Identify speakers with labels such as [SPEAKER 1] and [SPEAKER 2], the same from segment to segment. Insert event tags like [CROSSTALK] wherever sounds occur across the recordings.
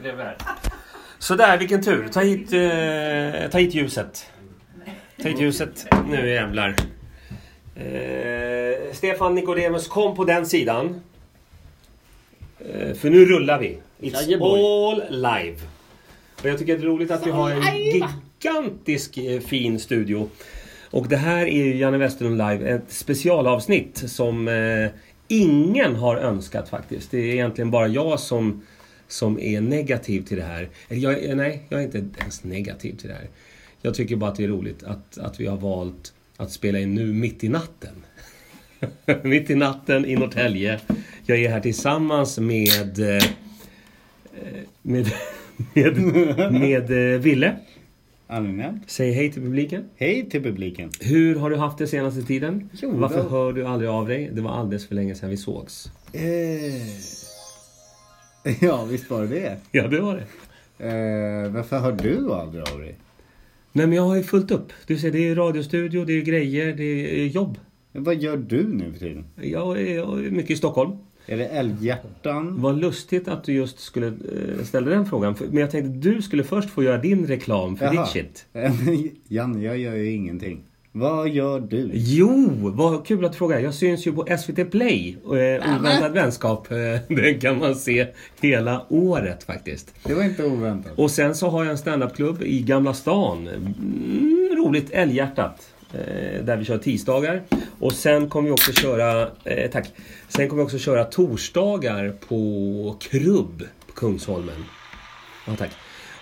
[SPEAKER 1] blev det här. Sådär, vilken tur. Ta hit, eh, ta hit ljuset. Ta hit ljuset. Nu jävlar. Eh, Stefan Nicodemus, kom på den sidan. Eh, för nu rullar vi. It's
[SPEAKER 2] Jajamoj.
[SPEAKER 1] all live. Och jag tycker det är roligt att vi har en gigantisk eh, fin studio. Och det här är ju Janne Westerlund Live, ett specialavsnitt som eh, ingen har önskat faktiskt. Det är egentligen bara jag som, som är negativ till det här. Eller jag, är- nej, jag är inte ens negativ till det här. Jag tycker bara att det är roligt att, att vi har valt att spela in nu mitt i natten. [LAUGHS] mitt i natten i Norrtälje. Jag är här tillsammans med... eh, Med, [LAUGHS] med, med eh, Ville.
[SPEAKER 2] Anledningen?
[SPEAKER 1] Säg hej till publiken.
[SPEAKER 2] Hej till publiken.
[SPEAKER 1] Hur har du haft det senaste tiden?
[SPEAKER 2] Jo,
[SPEAKER 1] Varför
[SPEAKER 2] då-
[SPEAKER 1] hör du aldrig av dig? Det var alldeles för länge sedan vi sågs.
[SPEAKER 2] Eh. Ja, visst var det det.
[SPEAKER 1] Ja, det var det.
[SPEAKER 2] Eh, varför har du aldrig av dig?
[SPEAKER 1] Nej, men jag har ju fullt upp. Du ser, det är radiostudio, det är grejer, det är eh, jobb.
[SPEAKER 2] Men Vad gör du nu för tiden?
[SPEAKER 1] Jag är, jag är mycket i Stockholm.
[SPEAKER 2] Är det Älghjärtan?
[SPEAKER 1] Vad lustigt att du just skulle eh, ställa den frågan. För- Men jag tänkte du skulle först få göra din reklam för
[SPEAKER 2] Jaha.
[SPEAKER 1] ditt shit.
[SPEAKER 2] [LAUGHS] Janne, jag gör ju ingenting. Vad gör du?
[SPEAKER 1] Jo, vad kul att fråga. Jag syns ju på SVT Play. Eh, Oväntad vänskap. Eh, [LAUGHS] Den kan man se hela året faktiskt.
[SPEAKER 2] Det var inte oväntat.
[SPEAKER 1] Och sen så har jag en standupklubb i Gamla stan. Mm, roligt, Älghjärtat. Eh, där vi kör tisdagar. Och sen kommer vi också köra, eh, tack. Sen kommer vi också köra torsdagar på Krubb på Kungsholmen. Ja, tack.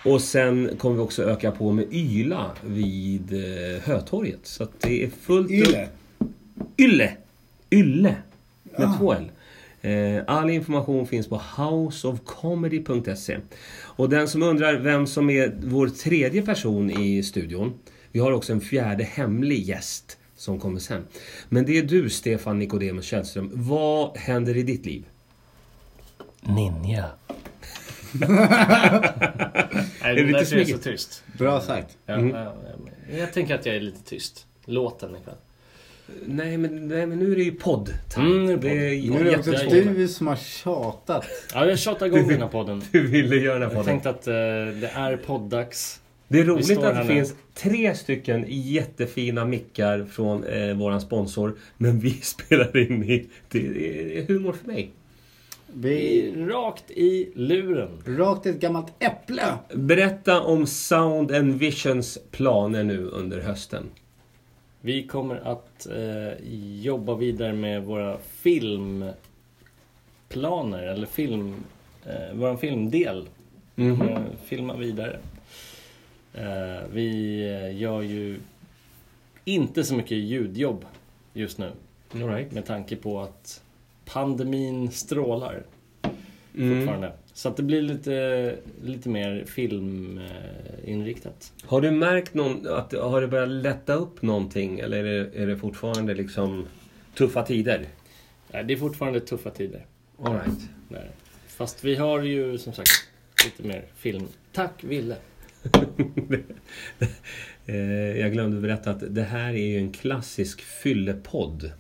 [SPEAKER 1] Och sen kommer vi också öka på med Yla vid eh, Hötorget. Så att det är fullt upp.
[SPEAKER 2] Yle?
[SPEAKER 1] Ylle! Ylle! Med
[SPEAKER 2] Ah.
[SPEAKER 1] två L. Eh, All information finns på houseofcomedy.se. Och den som undrar vem som är vår tredje person i studion. Vi har också en fjärde hemlig gäst som kommer sen. Men det är du, Stefan Nicodemus Källström. Vad händer i ditt liv?
[SPEAKER 3] Ninja.
[SPEAKER 1] Är
[SPEAKER 3] Nej,
[SPEAKER 1] det
[SPEAKER 3] det [LAUGHS] Mm. är
[SPEAKER 1] lite
[SPEAKER 3] därför jag är så
[SPEAKER 1] smygigt?
[SPEAKER 3] tyst.
[SPEAKER 2] Bra sagt.
[SPEAKER 3] Ja, ja, ja, men jag tänker att jag är lite tyst. Låt den ikväll.
[SPEAKER 1] Nej, men, nej, men nu är det ju podd
[SPEAKER 3] Mm, nu är det
[SPEAKER 1] Det är
[SPEAKER 3] podd.
[SPEAKER 2] Nu är det också
[SPEAKER 1] jättesvårt.
[SPEAKER 2] du som har tjatat.
[SPEAKER 3] Ja, jag tjatar igång den här podden.
[SPEAKER 1] Du ville göra den här
[SPEAKER 3] Jag
[SPEAKER 1] podden.
[SPEAKER 3] tänkte att eh, det är poddags.
[SPEAKER 1] Det är
[SPEAKER 3] Vi
[SPEAKER 1] roligt
[SPEAKER 3] står
[SPEAKER 1] att det
[SPEAKER 3] här nu.
[SPEAKER 1] finns tre stycken jättefina mickar från eh, våran sponsor. Men vi [LAUGHS] spelar in i... Det är humor för mig.
[SPEAKER 2] Vi
[SPEAKER 3] I, rakt i luren.
[SPEAKER 2] är rakt i ett gammalt äpple.
[SPEAKER 1] Berätta om Sound and Visions planer nu under hösten.
[SPEAKER 3] Vi kommer att eh, jobba vidare med våra filmplaner. Eller film... Eh, vår filmdel. Eh,
[SPEAKER 1] Mm-hmm.
[SPEAKER 3] filma vidare. Eh, vi eh, gör ju inte så mycket ljudjobb just nu.
[SPEAKER 1] Mm. All right.
[SPEAKER 3] Med tanke på att pandemin strålar
[SPEAKER 1] mm.
[SPEAKER 3] fortfarande. Så att det blir lite, lite mer filminriktat.
[SPEAKER 1] Har du märkt någon, att har det börjat lätta upp någonting? Eller är det, är det fortfarande liksom tuffa tider?
[SPEAKER 3] Nej, Det är fortfarande tuffa tider.
[SPEAKER 1] All right.
[SPEAKER 3] Där. Fast vi har ju som sagt lite mer film. Tack Ville!
[SPEAKER 1] Eh, Jag glömde berätta att det här är ju en klassisk fyllepodd.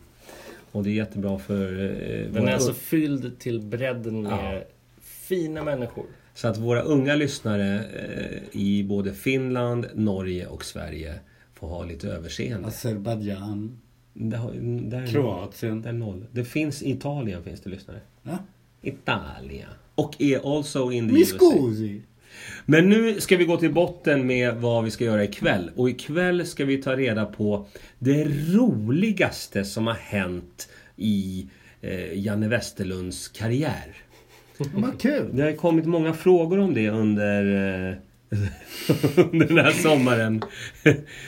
[SPEAKER 1] Och det är jättebra för... eh,
[SPEAKER 3] Den
[SPEAKER 1] våra
[SPEAKER 3] är alltså
[SPEAKER 1] un-
[SPEAKER 3] fylld till bredden med
[SPEAKER 1] Ja.
[SPEAKER 3] fina människor.
[SPEAKER 1] Så att våra unga lyssnare eh, i både Finland, Norge och Sverige får ha lite
[SPEAKER 3] Alltså,
[SPEAKER 1] överseende.
[SPEAKER 2] Azerbajdzjan.
[SPEAKER 1] Där, har- där,
[SPEAKER 2] Kroatien.
[SPEAKER 1] Där noll. Det finns i Italien finns det lyssnare.
[SPEAKER 2] Ja.
[SPEAKER 1] Italia. Och är also in the
[SPEAKER 2] Mi
[SPEAKER 1] USA.
[SPEAKER 2] scusi.
[SPEAKER 1] Men nu ska vi gå till botten med vad vi ska göra ikväll. Och ikväll ska vi ta reda på det roligaste som har hänt i eh, Janne Westerlunds karriär.
[SPEAKER 2] Vad kul.
[SPEAKER 1] Det har kommit många frågor om det under, eh, [LAUGHS] under den här sommaren.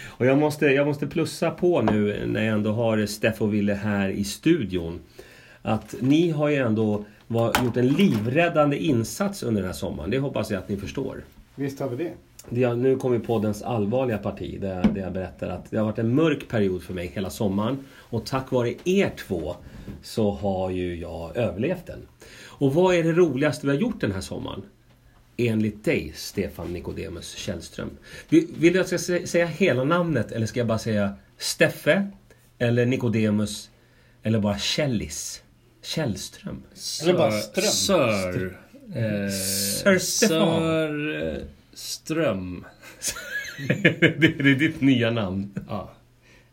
[SPEAKER 1] Och jag måste, jag måste plussa på nu när jag ändå har Steff och Ville här i studion. Att ni har ju ändå var, gjort en livräddande insats under den här sommaren. Det hoppas jag att ni förstår.
[SPEAKER 2] Visst har vi det.
[SPEAKER 1] Det har- nu kommer poddens allvarliga parti där jag, där jag berättar att det har varit en mörk period för mig hela sommaren. Och tack vare er två så har ju jag överlevt den. Och vad är det roligaste vi har gjort den här sommaren? Enligt dig, Stefan Nicodemus Källström. Vill vill du att jag ska sä- säga hela namnet eller ska jag bara säga Steffe? Eller Nicodemus? Eller bara Källis? Källström? [LAUGHS]
[SPEAKER 2] Eller bara ström.
[SPEAKER 4] Sör
[SPEAKER 3] Eh,
[SPEAKER 4] Sir Stefan.
[SPEAKER 3] Sir eh, Ström.
[SPEAKER 1] det är ditt nya namn.
[SPEAKER 3] Ja.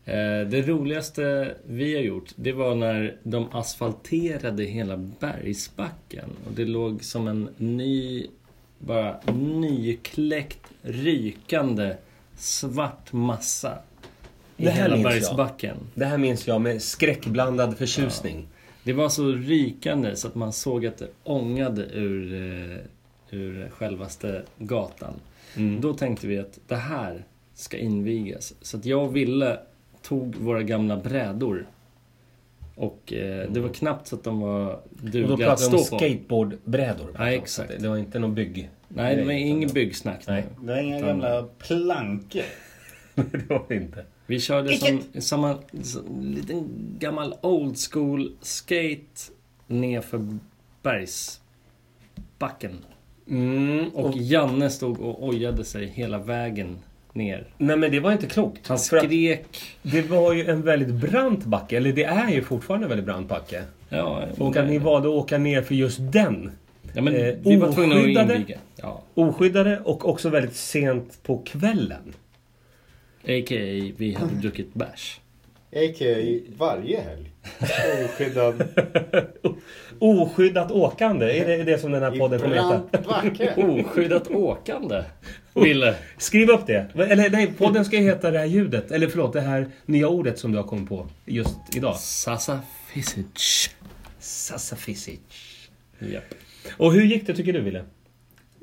[SPEAKER 3] Eh, Det roligaste vi har gjort, det var när de asfalterade hela bergsbacken. Och det låg som en ny, bara nykläckt, rykande svart massa i
[SPEAKER 1] Det här
[SPEAKER 3] hela
[SPEAKER 1] minns jag.
[SPEAKER 3] bergsbacken.
[SPEAKER 1] Det här minns jag med skräckblandad förtjusning.
[SPEAKER 3] Det var så rykande så att man såg att det ångade ur, eh, ur självaste gatan. Då tänkte vi att det här ska invigas. Så att jag och Ville tog våra gamla brädor. Och eh, det var knappt så att de var
[SPEAKER 1] Och då
[SPEAKER 3] dugliga att
[SPEAKER 1] pratade
[SPEAKER 3] stå
[SPEAKER 1] vi om
[SPEAKER 3] på.
[SPEAKER 1] skateboardbrädor.
[SPEAKER 3] Ja, exakt.
[SPEAKER 1] Det- Det var inte någon bygg... [LAUGHS]
[SPEAKER 3] Nej, det var inget byggsnack.
[SPEAKER 1] Nej.
[SPEAKER 2] Det var inga gamla plankor.
[SPEAKER 1] det var det inte.
[SPEAKER 3] Vi körde som, som en som en liten gammal old school skate nerför bergsbacken. Mm, Och,
[SPEAKER 1] och,
[SPEAKER 3] Janne stod och ojade sig hela vägen ner.
[SPEAKER 1] nej men det var inte klokt.
[SPEAKER 3] Han
[SPEAKER 1] För att
[SPEAKER 3] skrek.
[SPEAKER 1] det var ju en väldigt brant backe. Eller det är ju fortfarande en väldigt brant backe.
[SPEAKER 3] Ja,
[SPEAKER 1] Och att ni valde att åka ner för just den.
[SPEAKER 3] ja, men
[SPEAKER 1] eh,
[SPEAKER 3] vi var tvungna att
[SPEAKER 1] oskyddade.
[SPEAKER 3] inviga. Ja.
[SPEAKER 1] Oskyddade och också väldigt sent på kvällen.
[SPEAKER 3] A.k.a. vi hade druckit bärs.
[SPEAKER 2] A.k.a. varje helg. [LAUGHS] Oskyddad.
[SPEAKER 1] Oskyddat åkande, är det det som den här
[SPEAKER 2] I
[SPEAKER 1] podden kommer heta?
[SPEAKER 2] brant backe.
[SPEAKER 3] Oskyddat åkande. Ville.
[SPEAKER 1] Skriv upp det! Eller nej, podden ska ju heta det här ljudet. Eller förlåt, det här nya ordet som du har kommit på just idag.
[SPEAKER 3] Sasa Fisic.
[SPEAKER 1] Sassafisic.
[SPEAKER 3] Japp.
[SPEAKER 1] Och hur gick det tycker du, Ville?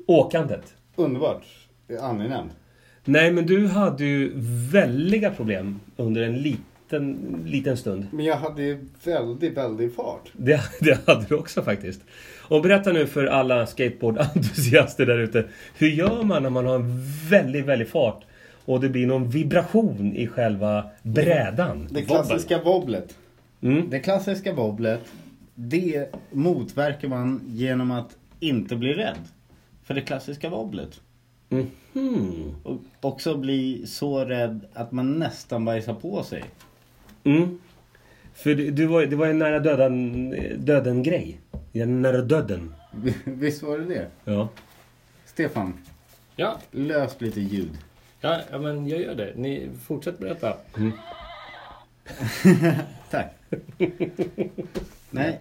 [SPEAKER 1] Åkandet?
[SPEAKER 2] Underbart. Det är Angenämt.
[SPEAKER 1] Nej, men du hade ju väldiga problem under en liten, liten stund.
[SPEAKER 2] Men jag hade ju väldigt, väldigt fart.
[SPEAKER 1] Det, det hade du också faktiskt. Och berätta nu för alla skateboardentusiaster där ute. Hur gör man när man har en väldigt, väldigt fart och det blir någon vibration i själva brädan?
[SPEAKER 2] Det klassiska wobblet. Det klassiska wobblet, det motverkar man genom att inte bli rädd. För det klassiska wobblet.
[SPEAKER 1] Mhm.
[SPEAKER 2] Och också bli så rädd att man nästan bajsar på sig.
[SPEAKER 1] Mm. För det, du var, det var ju en nära döden, döden grej. En nära döden.
[SPEAKER 2] [LAUGHS] Visst var det det?
[SPEAKER 1] Ja.
[SPEAKER 2] Stefan,
[SPEAKER 3] Ja,
[SPEAKER 2] lös lite ljud.
[SPEAKER 3] ja, ja, men jag gör det. Ni fortsätt berätta.
[SPEAKER 2] Tack. Nej,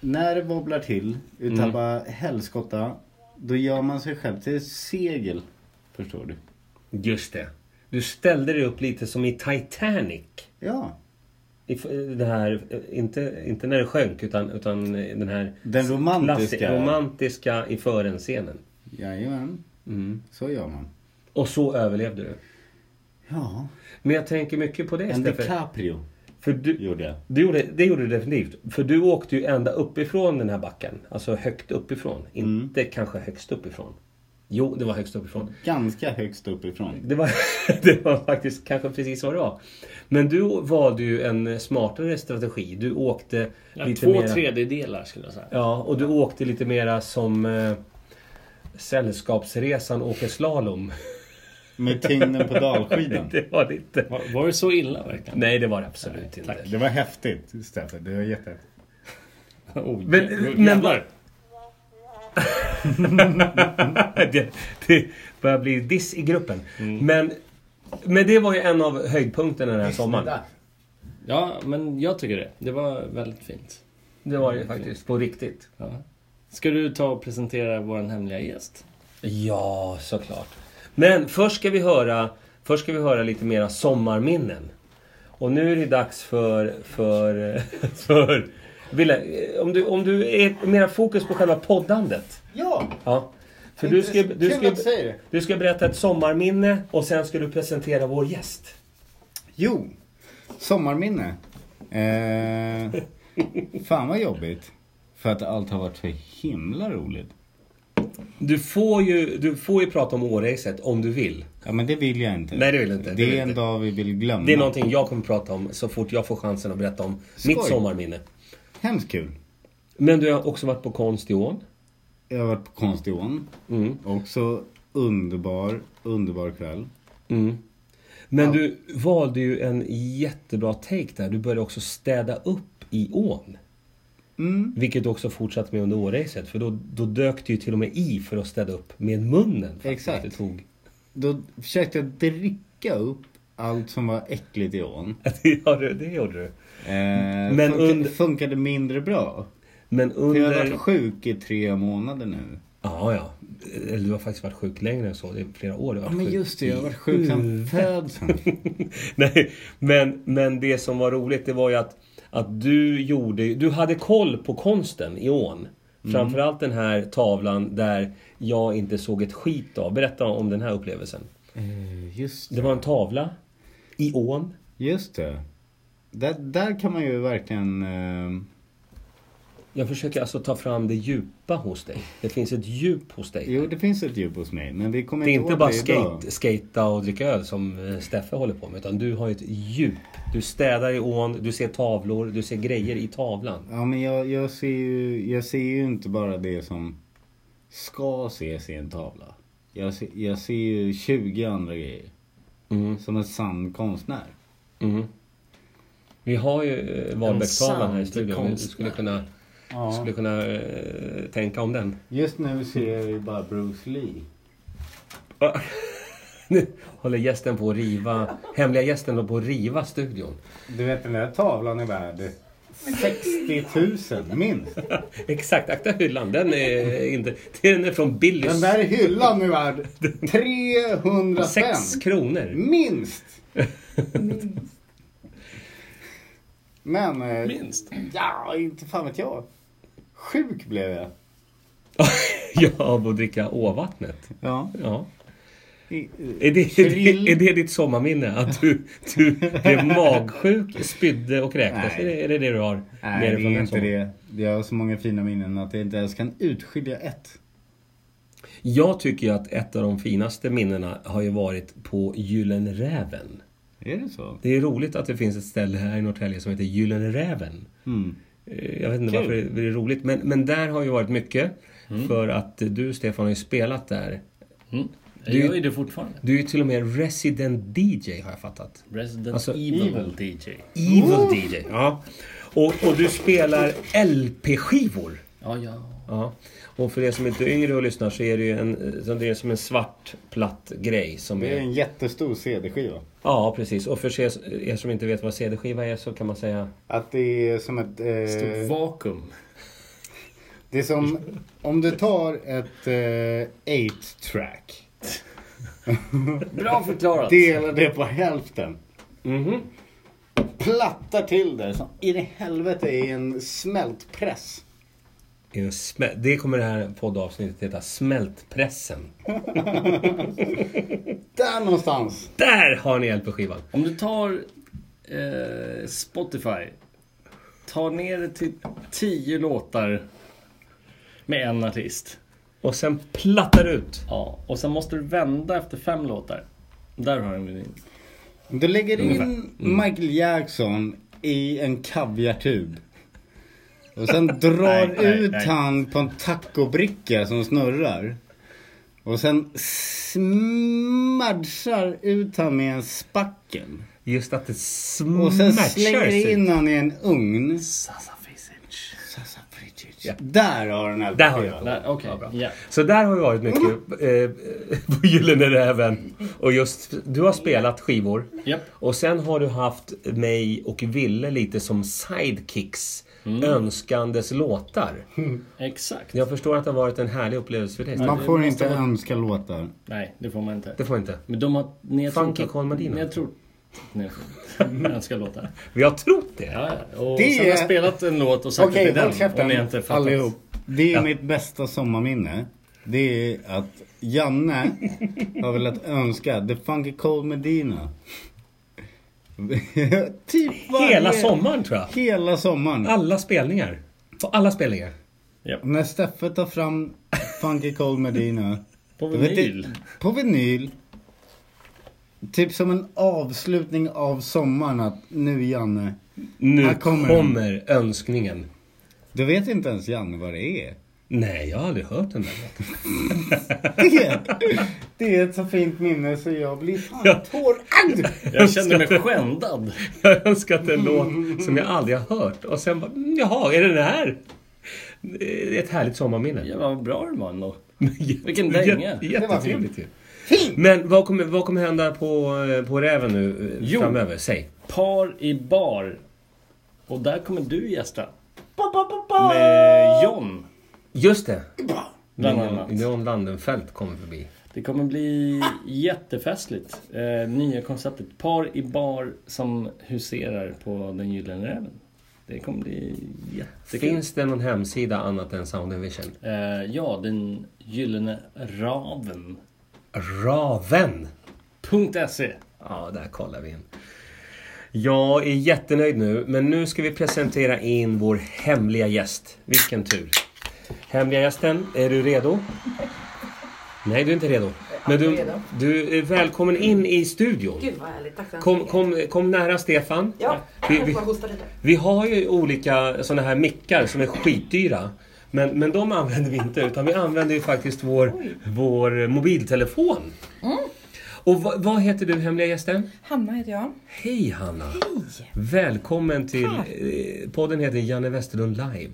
[SPEAKER 2] när det wobblar till utav bara helskotta, då gör man sig själv till ett segel. Förstår du?
[SPEAKER 1] Just det. Du ställde dig upp lite som i Titanic.
[SPEAKER 2] Ja.
[SPEAKER 1] I f- Den här, inte, inte när det sjönk, utan, utan den här...
[SPEAKER 2] Den romantiska.
[SPEAKER 1] Klassiska. romantiska i förenscenen.
[SPEAKER 2] Jajamän. Så gör man.
[SPEAKER 1] Och så överlevde du.
[SPEAKER 2] Ja.
[SPEAKER 1] Men jag tänker mycket på det
[SPEAKER 2] En
[SPEAKER 1] Steffe.
[SPEAKER 2] DiCaprio
[SPEAKER 1] För du,
[SPEAKER 2] gjorde jag.
[SPEAKER 1] du gjorde, det gjorde du definitivt. För du åkte ju ända uppifrån den här backen. Alltså högt uppifrån.
[SPEAKER 2] Mm.
[SPEAKER 1] Inte kanske högst uppifrån. Jo, det var högst uppifrån.
[SPEAKER 2] Ganska högst uppifrån.
[SPEAKER 1] Det var, [LAUGHS] det var faktiskt kanske precis vad det var. Men du valde ju en smartare strategi. Du åkte
[SPEAKER 3] Ja,
[SPEAKER 1] lite
[SPEAKER 3] två
[SPEAKER 1] mera...
[SPEAKER 3] tredjedelar skulle jag säga.
[SPEAKER 1] Ja, och du åkte lite mera som eh, Sällskapsresan åker [LAUGHS] slalom.
[SPEAKER 2] Med tyngden på dalskidan.
[SPEAKER 1] Det var det inte.
[SPEAKER 3] Var, var det så illa verkligen?
[SPEAKER 1] Nej, det var det absolut inte.
[SPEAKER 2] Det var häftigt, Steffe. Det var jättehäftigt.
[SPEAKER 3] Oh,
[SPEAKER 1] Men- eh,
[SPEAKER 3] jävlar.
[SPEAKER 1] men- [LAUGHS] det, det börjar bli diss i gruppen. Men, men det var ju en av höjdpunkterna den här sommaren.
[SPEAKER 3] Ja, men jag tycker det. Det var väldigt fint.
[SPEAKER 1] Det var det faktiskt, på riktigt.
[SPEAKER 3] Ja. Ska du ta och presentera vår hemliga gäst?
[SPEAKER 1] Ja, såklart. Men först ska vi höra, först ska vi höra lite mera sommarminnen. Och nu är det dags för... för, [LAUGHS] för Wille, om du, om du är mera fokus på själva poddandet.
[SPEAKER 2] Ja!
[SPEAKER 1] Ja. För du ska,
[SPEAKER 2] Intressant.
[SPEAKER 1] du,
[SPEAKER 2] Kul
[SPEAKER 1] ska,
[SPEAKER 2] att du säger det.
[SPEAKER 1] du ska berätta ett sommarminne och sen ska du presentera vår gäst.
[SPEAKER 2] Jo! Sommarminne. Eh, fan vad jobbigt. För att allt har varit så himla roligt.
[SPEAKER 1] Du får ju, du får ju prata om årracet om du vill.
[SPEAKER 2] Ja men det vill jag inte.
[SPEAKER 1] Nej, det vill jag inte.
[SPEAKER 2] Det,
[SPEAKER 1] Det vill
[SPEAKER 2] är en
[SPEAKER 1] inte.
[SPEAKER 2] dag vi vill glömma.
[SPEAKER 1] Det är någonting jag kommer prata om så fort jag får chansen att berätta om
[SPEAKER 2] Skoj.
[SPEAKER 1] mitt sommarminne.
[SPEAKER 2] Hemskt kul.
[SPEAKER 1] Men du har också varit på konst i Ån.
[SPEAKER 2] Jag har varit på Konstiån.
[SPEAKER 1] Mm.
[SPEAKER 2] Också underbar, underbar kväll.
[SPEAKER 1] Men du valde ju en jättebra take där. Du började också städa upp i ån.
[SPEAKER 2] Mm.
[SPEAKER 1] Vilket också fortsatt med under årracet. För då, då dök det ju till och med i för att städa upp med munnen. Faktiskt.
[SPEAKER 2] Exakt.
[SPEAKER 1] Det tog. [LAUGHS]
[SPEAKER 2] Då försökte jag dricka upp allt som var äckligt i ån.
[SPEAKER 1] Det gjorde, det gjorde du.
[SPEAKER 2] Eh,
[SPEAKER 1] Men
[SPEAKER 2] Men
[SPEAKER 1] under-
[SPEAKER 2] funkade mindre bra.
[SPEAKER 1] Men
[SPEAKER 2] För jag har
[SPEAKER 1] under...
[SPEAKER 2] varit sjuk i tre månader nu.
[SPEAKER 1] Ja, ja. Eller du har faktiskt varit sjuk längre än så. Det är flera år du har
[SPEAKER 2] Ja
[SPEAKER 1] varit
[SPEAKER 2] men
[SPEAKER 1] sjuk.
[SPEAKER 2] just det, jag har varit sjuk sedan
[SPEAKER 1] [LAUGHS]
[SPEAKER 2] födseln.
[SPEAKER 1] Nej, men, men det som var roligt det var ju att, att du gjorde... Du hade koll på konsten i ån.
[SPEAKER 2] Mm.
[SPEAKER 1] Framförallt den här tavlan där jag inte såg ett skit av. Berätta om den här upplevelsen.
[SPEAKER 2] Eh, Just
[SPEAKER 1] Det
[SPEAKER 2] det.
[SPEAKER 1] var en tavla i ån.
[SPEAKER 2] Just det. Där, där kan man ju verkligen... Eh,
[SPEAKER 1] Jag försöker alltså ta fram det djupa hos dig. Det finns ett djup hos dig.
[SPEAKER 2] jo, det finns ett djup hos mig. Men vi kommer
[SPEAKER 1] det är inte bara
[SPEAKER 2] åt det idag.
[SPEAKER 1] skate, skata och dricka öl som eh, Steffe håller på med. Utan du har ett djup. Du städar i ån, du ser tavlor, du ser grejer i tavlan.
[SPEAKER 2] Ja, men jag, jag, ser ju, jag ser ju inte bara det som ska ses i en tavla. Jag ser, jag ser ju 20 andra grejer.
[SPEAKER 1] Mm.
[SPEAKER 2] Som en sann konstnär.
[SPEAKER 1] Vi har ju eh, Wahlbeck-tavlan här i
[SPEAKER 3] sann
[SPEAKER 1] studion. Du
[SPEAKER 3] konstnär.
[SPEAKER 1] skulle kunna, skulle kunna eh, tänka om den.
[SPEAKER 2] Just nu ser jag ju bara Bruce Lee.
[SPEAKER 1] Ah. [LAUGHS] Nu håller gästen på att riva, hemliga gästen håller på att riva studion.
[SPEAKER 2] Du vet den där tavlan är värd 60 000 minst.
[SPEAKER 1] Exakt, akta hyllan. Den är, inte, den är från
[SPEAKER 2] Den
[SPEAKER 1] Billys.
[SPEAKER 2] där hyllan är värd 300
[SPEAKER 1] Sex
[SPEAKER 2] spänn.
[SPEAKER 1] kronor. [LAUGHS]
[SPEAKER 2] Minst! Men, eh,
[SPEAKER 3] Minst.
[SPEAKER 2] ja, inte fan vet jag. Sjuk blev jag.
[SPEAKER 1] ja, av att dricka åvattnet.
[SPEAKER 2] Ja.
[SPEAKER 1] Ja.
[SPEAKER 2] I- eh,
[SPEAKER 1] Är det, är,
[SPEAKER 2] Thrill.
[SPEAKER 1] det, [LAUGHS] är det ditt sommarminne? Att du, du blev magsjuk, spydde och kräktes?
[SPEAKER 2] Nej.
[SPEAKER 1] Är det, är det det du har?
[SPEAKER 2] Nej,
[SPEAKER 1] från
[SPEAKER 2] det är
[SPEAKER 1] den
[SPEAKER 2] inte
[SPEAKER 1] sommaren?
[SPEAKER 2] det. Jag har så många fina minnen att jag inte ens kan utskilja ett.
[SPEAKER 1] Jag tycker ju att ett av de finaste minnena har ju varit på Gyllene Räven.
[SPEAKER 2] Är det så?
[SPEAKER 1] Det är roligt att det finns ett ställe här i Norrtälje som heter Gyllene Räven.
[SPEAKER 2] Mm.
[SPEAKER 1] Eh, Jag vet inte
[SPEAKER 2] Kul. Mm.
[SPEAKER 1] varför det- det är roligt, men, men där har ju varit mycket. För att eh, du, Stefan, har ju spelat där.
[SPEAKER 3] Mm. Jag
[SPEAKER 1] Du-
[SPEAKER 3] gör ju det fortfarande.
[SPEAKER 1] Du är ju till och med resident DJ, har jag fattat.
[SPEAKER 3] Resident
[SPEAKER 1] Alltså,
[SPEAKER 3] Evil,
[SPEAKER 2] Evil.
[SPEAKER 3] DJ.
[SPEAKER 1] Evil DJ. Ja. Och, och du spelar LP-skivor.
[SPEAKER 3] Ja, ja.
[SPEAKER 1] Ja. Och för er som inte är yngre och lyssnar så är det ju en, så det är som en svart platt grej. Som
[SPEAKER 2] Det är
[SPEAKER 1] är,
[SPEAKER 2] en jättestor CD-skiva.
[SPEAKER 1] ja, precis. Och för er, er som inte vet vad CD-skiva är så kan man säga...
[SPEAKER 2] Att det är som ett...
[SPEAKER 3] Stort
[SPEAKER 2] Eh,
[SPEAKER 3] vakuum.
[SPEAKER 2] det är som om du tar ett eh, 8-track.
[SPEAKER 3] Bra förklarat.
[SPEAKER 2] delar det på hälften.
[SPEAKER 1] Mhm.
[SPEAKER 2] Plattar till det som in i helvete i en smältpress.
[SPEAKER 1] är en smä- Det kommer det här poddavsnittet heta. Smältpressen.
[SPEAKER 2] Där någonstans.
[SPEAKER 1] Där har ni LP-skivan!
[SPEAKER 3] Om du tar eh, Spotify, ta ner det till tio låtar med en artist.
[SPEAKER 1] Och sen plattar ut.
[SPEAKER 3] Ja, och sen måste du vända efter fem låtar. Där har du din.
[SPEAKER 2] Du lägger in
[SPEAKER 3] Mm.
[SPEAKER 2] Michael Jackson i en kaviartub. Och sen drar
[SPEAKER 3] Nej, nej,
[SPEAKER 2] ut
[SPEAKER 3] nej.
[SPEAKER 2] han på en tacobricka som snurrar. Och sen smadsar ut han med en spackel.
[SPEAKER 1] Just att det
[SPEAKER 2] Och sen
[SPEAKER 1] smatchar
[SPEAKER 2] slänger
[SPEAKER 1] Mm, sig.
[SPEAKER 2] in han i en ugn.
[SPEAKER 3] Sasa Fisic.
[SPEAKER 1] Ja.
[SPEAKER 2] Där har den här
[SPEAKER 1] Där har
[SPEAKER 2] skivan.
[SPEAKER 1] jag.
[SPEAKER 3] Där, okej. Ja.
[SPEAKER 1] Så där har vi varit
[SPEAKER 2] Mm.
[SPEAKER 1] mycket eh, [LAUGHS] på Gyllene Räven. Och just, du har spelat skivor.
[SPEAKER 3] Japp.
[SPEAKER 1] Och sen har du haft mig och Ville lite som sidekicks. Önskandes låtar.
[SPEAKER 3] Exakt.
[SPEAKER 1] Jag förstår att det har varit en härlig upplevelse för dig.
[SPEAKER 2] Man
[SPEAKER 1] Stefan.
[SPEAKER 2] får
[SPEAKER 3] måste
[SPEAKER 2] inte
[SPEAKER 3] vara-
[SPEAKER 2] önska låtar.
[SPEAKER 3] Nej, det får man inte.
[SPEAKER 1] Det får jag inte.
[SPEAKER 3] Men de har... Ni har
[SPEAKER 1] Funky
[SPEAKER 3] trott att-
[SPEAKER 1] Carl Medina.
[SPEAKER 3] Ni har trott... Ni har Jag ska låta.
[SPEAKER 1] Vi har trott det.
[SPEAKER 3] Ja, ja. och
[SPEAKER 2] Det
[SPEAKER 3] sen har jag
[SPEAKER 2] är-
[SPEAKER 3] spelat en låt och sagt
[SPEAKER 2] Okej,
[SPEAKER 3] att det
[SPEAKER 2] håll
[SPEAKER 3] är den. Om ni inte
[SPEAKER 2] käften
[SPEAKER 3] fattat.
[SPEAKER 2] allihop. Det är
[SPEAKER 1] Ja.
[SPEAKER 2] mitt bästa sommarminne. Det är att [LAUGHS] Janne har velat önska The Funky Cold Medina. [LAUGHS] typ varje,
[SPEAKER 1] Hela sommaren tror jag.
[SPEAKER 2] Hela sommaren.
[SPEAKER 1] Alla spelningar. På alla spelningar.
[SPEAKER 3] Japp.
[SPEAKER 2] När Steffe tar fram Funky Cold Medina.
[SPEAKER 3] På
[SPEAKER 2] då vet du-
[SPEAKER 3] vinyl.
[SPEAKER 2] På vinyl. Typ som en avslutning av sommaren att nu Janne.
[SPEAKER 1] Nu
[SPEAKER 2] Här
[SPEAKER 1] kommer,
[SPEAKER 2] kommer
[SPEAKER 1] önskningen.
[SPEAKER 2] Du vet inte ens Janne vad det är. [LAUGHS]
[SPEAKER 1] Nej, jag har aldrig hört den där låten. [LAUGHS]
[SPEAKER 2] Det, det är ett så fint minne så jag blir fan tårögd.
[SPEAKER 3] Jag känner mig skändad.
[SPEAKER 1] Jag har önskat en låt som jag aldrig har hört och sen bara, "Mm, jaha, är det den här? Det är Ett härligt sommarminne.
[SPEAKER 3] Ja, vad bra den var ändå.
[SPEAKER 1] [LAUGHS] Jätte-
[SPEAKER 3] Vilken dänga.
[SPEAKER 1] jätte-
[SPEAKER 2] Det var fint.
[SPEAKER 1] Jättetrevligt ju. Men vad kommer, vad kommer hända på, eh, på Räven nu eh,
[SPEAKER 3] Jo.
[SPEAKER 1] framöver? Säg.
[SPEAKER 3] Par i bar. Och där kommer du gästa. Med John,
[SPEAKER 1] Just det.
[SPEAKER 3] bland annat.
[SPEAKER 1] Leon Landenfelt kommer förbi.
[SPEAKER 3] Det kommer bli jättefestligt. Eh, nya konceptet. Par i bar som huserar på den gyllene räven. Det kommer bli jättekul.
[SPEAKER 1] Finns det någon hemsida annat än Sound and Vision?
[SPEAKER 3] Eh, ja, den gyllene raven. E.
[SPEAKER 1] Raven!
[SPEAKER 3] .se.
[SPEAKER 1] Ja, där kollar vi in. Jag är jättenöjd nu, men nu ska vi presentera in vår hemliga gäst. Vilken tur! Hemliga gästen, är du redo? Nej, du är inte redo. Men du, du är välkommen in i studion.
[SPEAKER 4] Gud vad härligt, tack så
[SPEAKER 1] Kom, kom, kom nära Stefan.
[SPEAKER 4] Ja,
[SPEAKER 1] Vi-
[SPEAKER 4] jag
[SPEAKER 1] vi-
[SPEAKER 4] får bara hosta lite.
[SPEAKER 1] Vi har ju olika såna här mickar som är skitdyra. Men, men de använder vi inte, utan vi använder ju faktiskt vår, vår mobiltelefon. Och vad, vad heter du, hemliga gästen?
[SPEAKER 5] Hanna heter jag.
[SPEAKER 1] Hej Hanna! Hej! Välkommen till... Eh, podden heter Janne Westerlund Live.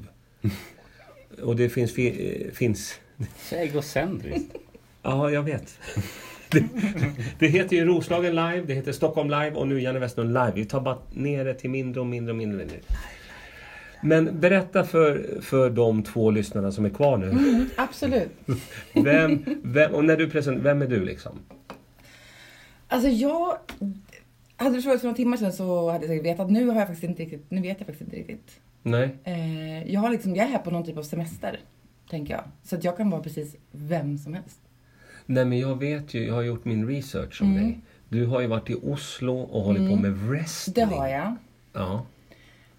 [SPEAKER 1] Och det finns... Fi, eh, finns
[SPEAKER 2] Så egocentriskt.
[SPEAKER 1] ja, jag vet. [LAUGHS] Det, det heter ju Roslagen Live, det heter Stockholm Live och nu Janne Westerlund Live. Vi tar bara ner det till mindre och mindre och mindre. och mindre. Men berätta för, för de två lyssnarna som är kvar nu.
[SPEAKER 5] Mm. Absolut.
[SPEAKER 1] Vem, vem, och när du present, vem är du liksom?
[SPEAKER 5] Alltså jag... Hade du frågat för några timmar sedan så hade jag säkert vetat. Nu har jag faktiskt inte riktigt... Nu vet jag faktiskt inte riktigt.
[SPEAKER 1] Nej?
[SPEAKER 5] Eh, jag, har liksom, jag är här på någon typ av semester. Tänker jag. Så att jag kan vara precis vem som helst.
[SPEAKER 1] Nej men jag vet ju, jag har gjort min research om dig. Du har ju varit i Oslo och hållit på med wrestling.
[SPEAKER 5] Mm. Det har jag.
[SPEAKER 1] Ja,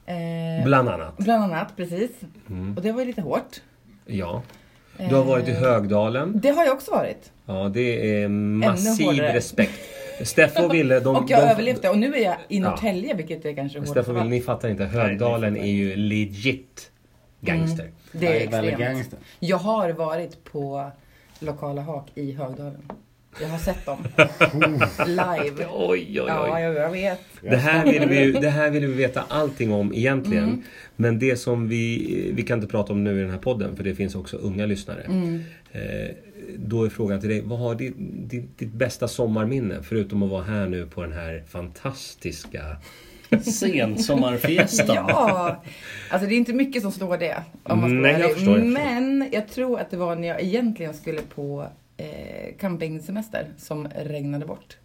[SPEAKER 5] Eh,
[SPEAKER 1] bland Mm. annat.
[SPEAKER 5] bland annat, precis. Och det var ju lite hårt.
[SPEAKER 1] Ja. Du har varit i
[SPEAKER 5] Eh.
[SPEAKER 1] Högdalen.
[SPEAKER 5] Det har jag också varit.
[SPEAKER 1] Ja, det är massiv
[SPEAKER 5] hårdare.
[SPEAKER 1] respekt. Steffo och Ville, de...
[SPEAKER 5] [LAUGHS] och jag
[SPEAKER 1] de,
[SPEAKER 5] överlevde. Och nu är jag i
[SPEAKER 1] Ja.
[SPEAKER 5] Norrtälje, vilket är kanske hårt.
[SPEAKER 1] Steffo och Ville, ni fattar inte. Högdalen är ju
[SPEAKER 5] Mm.
[SPEAKER 1] legit gangster.
[SPEAKER 5] Det
[SPEAKER 2] Jag är
[SPEAKER 5] är
[SPEAKER 2] väldigt
[SPEAKER 5] extremt.
[SPEAKER 2] gangster.
[SPEAKER 5] Jag har varit på lokala hak i Högdalen. Jag har sett dem. Live.
[SPEAKER 1] Oj, oj, oj.
[SPEAKER 5] Ja, jag, jag vet.
[SPEAKER 1] Det här ville vi, ju- det här ville vi veta allting om egentligen.
[SPEAKER 5] Mm.
[SPEAKER 1] Men det som vi, vi kan inte prata om nu i den här podden, för det finns också unga lyssnare.
[SPEAKER 5] Mm.
[SPEAKER 1] Eh, då är frågan till dig, vad har ditt, ditt, ditt bästa sommarminne? Förutom att vara här nu på den här fantastiska...
[SPEAKER 3] Sensommarfiesta.
[SPEAKER 5] [LAUGHS] Ja! Alltså det är inte mycket som slår det. Om man ska
[SPEAKER 1] Nej,
[SPEAKER 5] vara
[SPEAKER 1] jag
[SPEAKER 5] ärlig.
[SPEAKER 1] förstår, jag förstår.
[SPEAKER 5] Men jag tror att det var när jag egentligen skulle på eh, campingsemester som regnade bort.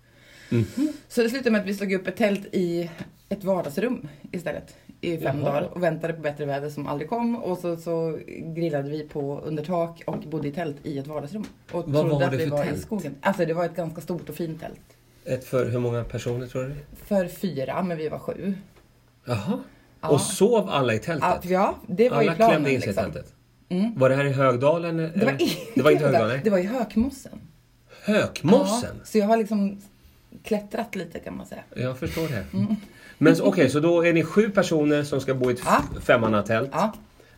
[SPEAKER 1] Mm.
[SPEAKER 5] Så det slutade med att vi slog upp ett tält i ett vardagsrum istället i fem
[SPEAKER 1] Jaha.
[SPEAKER 5] dagar och väntade på bättre väder som aldrig kom och så, så grillade vi på under tak och bodde i tält i ett vardagsrum. Och
[SPEAKER 1] Vad var
[SPEAKER 5] trodde att
[SPEAKER 1] det
[SPEAKER 5] vi
[SPEAKER 1] för
[SPEAKER 5] var
[SPEAKER 1] tält?
[SPEAKER 5] i skogen. Alltså det var ett ganska stort och fint tält.
[SPEAKER 1] Ett för hur många personer tror du?
[SPEAKER 5] För fyra, men vi var sju.
[SPEAKER 1] Jaha.
[SPEAKER 5] Ja.
[SPEAKER 1] Och sov alla i tältet?
[SPEAKER 5] Ja, ja det var
[SPEAKER 1] alla
[SPEAKER 5] ju planen.
[SPEAKER 1] klämde in sig i
[SPEAKER 5] liksom.
[SPEAKER 1] tältet? Var det här i Högdalen?
[SPEAKER 5] Det var, [LAUGHS]
[SPEAKER 1] eller? det var inte
[SPEAKER 5] Högdalen,
[SPEAKER 1] Högdalen?
[SPEAKER 5] Det var i Hökmossen.
[SPEAKER 1] Hökmossen?
[SPEAKER 5] Ja, så jag har liksom klättrat lite kan man säga.
[SPEAKER 1] Jag förstår det.
[SPEAKER 5] Mm.
[SPEAKER 1] Men så- okej, så då är ni sju personer som ska bo i ett
[SPEAKER 5] Ja.
[SPEAKER 1] f- femmannatält
[SPEAKER 5] Ja.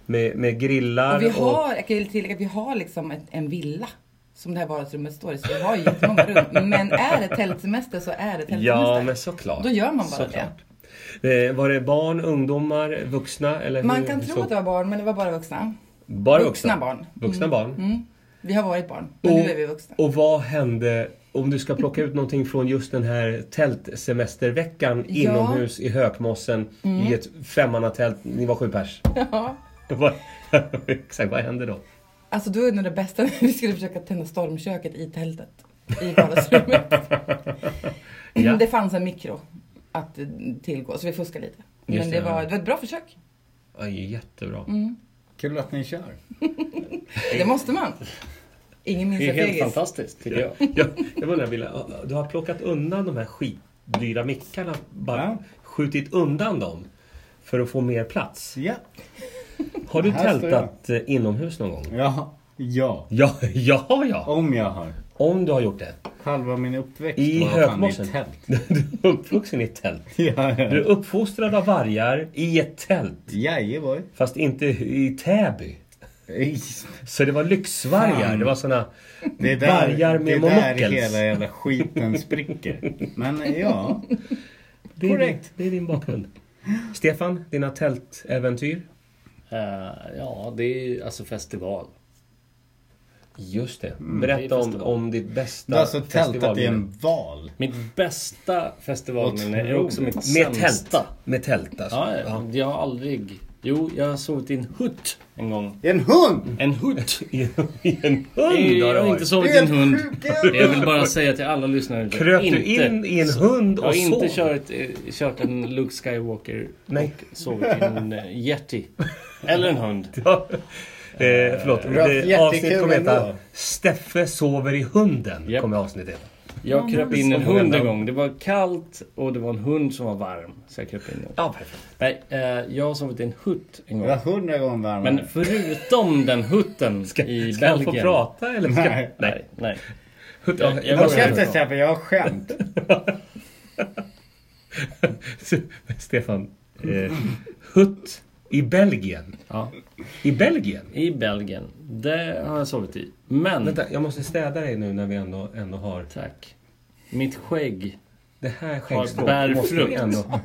[SPEAKER 1] med, med grillar
[SPEAKER 5] Och vi har, jag kan ju tillägga att vi har liksom ett, en villa som det här vardagsrummet står i. Så vi har ju jättemånga rum. Men är det tältsemester så är det tältsemester.
[SPEAKER 1] Ja, men såklart.
[SPEAKER 5] Då gör man bara
[SPEAKER 1] såklart. det. Eh, var det barn, ungdomar, vuxna? Eller
[SPEAKER 5] det. Man
[SPEAKER 1] hur-
[SPEAKER 5] kan
[SPEAKER 1] hur
[SPEAKER 5] tro
[SPEAKER 1] såg-
[SPEAKER 5] att det var barn, men det var bara vuxna.
[SPEAKER 1] Bara
[SPEAKER 5] vuxna barn.
[SPEAKER 1] Vuxna
[SPEAKER 5] Mm.
[SPEAKER 1] barn.
[SPEAKER 5] Mm. Vi har varit barn, men nu är vi vuxna. [LAUGHS]
[SPEAKER 1] Och vad hände om du ska plocka ut någonting från just den här tältsemesterveckan
[SPEAKER 5] Ja. Mm.
[SPEAKER 1] inomhus i Hökmossen i ett femmannatält, ni var sju pers. [LAUGHS]
[SPEAKER 5] Ja.
[SPEAKER 1] Vad- [LAUGHS] Exakt, vad hände då?
[SPEAKER 5] Alltså då är nog det bästa när vi skulle försöka tända stormköket i tältet. I vardagsrummet.
[SPEAKER 1] Ja.
[SPEAKER 5] Det fanns en mikro att eh, tillgå, så vi fuskade lite.
[SPEAKER 1] Just det,
[SPEAKER 5] Men det
[SPEAKER 1] ja.
[SPEAKER 5] var, det var ett bra försök.
[SPEAKER 1] Ja, jättebra.
[SPEAKER 5] Mm.
[SPEAKER 2] Kul att ni kör.
[SPEAKER 5] Det måste man. Ingen minns
[SPEAKER 3] Det är
[SPEAKER 5] att
[SPEAKER 3] helt
[SPEAKER 5] det är
[SPEAKER 3] fantastiskt tycker jag.
[SPEAKER 1] Ja, jag undrar Wille, du har plockat undan de här skitdyra mickarna. Bara
[SPEAKER 2] Ja.
[SPEAKER 1] skjutit undan dem. För att få mer plats.
[SPEAKER 2] Ja.
[SPEAKER 1] Har du
[SPEAKER 2] Här står
[SPEAKER 1] tältat eh, inomhus någon gång?
[SPEAKER 2] Ja. Ja.
[SPEAKER 1] Ja, [LAUGHS] ja, ja.
[SPEAKER 2] Om jag har.
[SPEAKER 1] Om du har gjort det.
[SPEAKER 2] Halva min uppväxt
[SPEAKER 1] I
[SPEAKER 2] var fan i
[SPEAKER 1] Högmossen.
[SPEAKER 2] tält.
[SPEAKER 1] [LAUGHS] Du är uppvuxen i ett tält.
[SPEAKER 2] Ja,
[SPEAKER 1] Du är
[SPEAKER 2] ja.
[SPEAKER 1] uppfostrad av vargar i ett tält.
[SPEAKER 2] Jajeboy.
[SPEAKER 1] Fast inte i Täby. Så det var lyxvargar.
[SPEAKER 2] Fan.
[SPEAKER 1] Det var såna
[SPEAKER 2] Det är där,
[SPEAKER 1] vargar med
[SPEAKER 2] det är där
[SPEAKER 1] monockels.
[SPEAKER 2] hela jävla skiten spricker. Men ja,
[SPEAKER 1] Det är
[SPEAKER 2] Korrekt.
[SPEAKER 1] Din, det är din bakgrund. Stefan, dina tältäventyr?
[SPEAKER 3] Eh, ja, det är ju alltså festival.
[SPEAKER 1] Just det.
[SPEAKER 3] Mm. det är
[SPEAKER 1] Berätta om,
[SPEAKER 3] festival.
[SPEAKER 1] om ditt bästa
[SPEAKER 2] alltså tältat i
[SPEAKER 1] festivalminne.
[SPEAKER 2] en val.
[SPEAKER 3] Mitt bästa festivalminne är också mitt
[SPEAKER 1] Med tält.
[SPEAKER 3] sämsta.
[SPEAKER 1] Med tält alltså.
[SPEAKER 3] Ja, ja. Jag har aldrig... Jo, jag har sovit i en hutt en gång.
[SPEAKER 2] En hund!
[SPEAKER 3] En hutt?
[SPEAKER 1] I en
[SPEAKER 3] Nej,
[SPEAKER 1] hund har
[SPEAKER 3] Jag
[SPEAKER 1] du
[SPEAKER 3] har inte
[SPEAKER 1] varit.
[SPEAKER 3] sovit i en
[SPEAKER 2] Helt
[SPEAKER 3] hund.
[SPEAKER 2] sjuka
[SPEAKER 3] Jag vill
[SPEAKER 2] jävla-
[SPEAKER 3] bara säga till alla lyssnare. att jag
[SPEAKER 1] Kröp du
[SPEAKER 3] inte-
[SPEAKER 1] in i en hund
[SPEAKER 3] Jag har
[SPEAKER 1] och sov?
[SPEAKER 3] inte kört, eh, kört en Luke Skywalker
[SPEAKER 1] Nej.
[SPEAKER 3] och sovit i en eh, Yeti. Eller en hund.
[SPEAKER 1] [LAUGHS] Ja. Eh, förlåt. Det,
[SPEAKER 2] jättekul
[SPEAKER 1] avsnitt kommer heta
[SPEAKER 2] ändå.
[SPEAKER 1] Steffe sover i hunden.
[SPEAKER 3] Japp.
[SPEAKER 1] Kommer avsnittet heta.
[SPEAKER 3] Jag kröp in en
[SPEAKER 1] Som
[SPEAKER 3] hund en
[SPEAKER 1] redan-
[SPEAKER 3] gång. Det var kallt och det var en hund som var varm. Så jag kröp in den.
[SPEAKER 1] Ja, perfekt.
[SPEAKER 3] Nej, eh, jag har sovit i en hutt en
[SPEAKER 2] Det var
[SPEAKER 3] gång.
[SPEAKER 2] hundra gånger varmare.
[SPEAKER 3] Men förutom den
[SPEAKER 1] [LAUGHS]
[SPEAKER 3] hutten
[SPEAKER 1] Ska,
[SPEAKER 3] i
[SPEAKER 1] ska han
[SPEAKER 3] Belgien.
[SPEAKER 1] få prata eller? Ska,
[SPEAKER 2] Nej.
[SPEAKER 3] Nej, nej.
[SPEAKER 1] Hut-
[SPEAKER 3] Jag-
[SPEAKER 1] ja,
[SPEAKER 3] jag
[SPEAKER 1] ja,
[SPEAKER 2] jag
[SPEAKER 3] måste-
[SPEAKER 2] ska inte säga för jag har skämt.
[SPEAKER 1] [LAUGHS] Stefan. Eh, hutt i Belgien.
[SPEAKER 3] Ja.
[SPEAKER 1] I Belgien?
[SPEAKER 3] I Belgien. Det har jag sovit i. Men,
[SPEAKER 1] Vänta, jag måste städa dig nu när vi ändå, ändå har...
[SPEAKER 3] tack. Mitt skägg.
[SPEAKER 1] Det här skäggstrået
[SPEAKER 3] bär
[SPEAKER 1] måste vi
[SPEAKER 3] frukt.
[SPEAKER 1] ändå...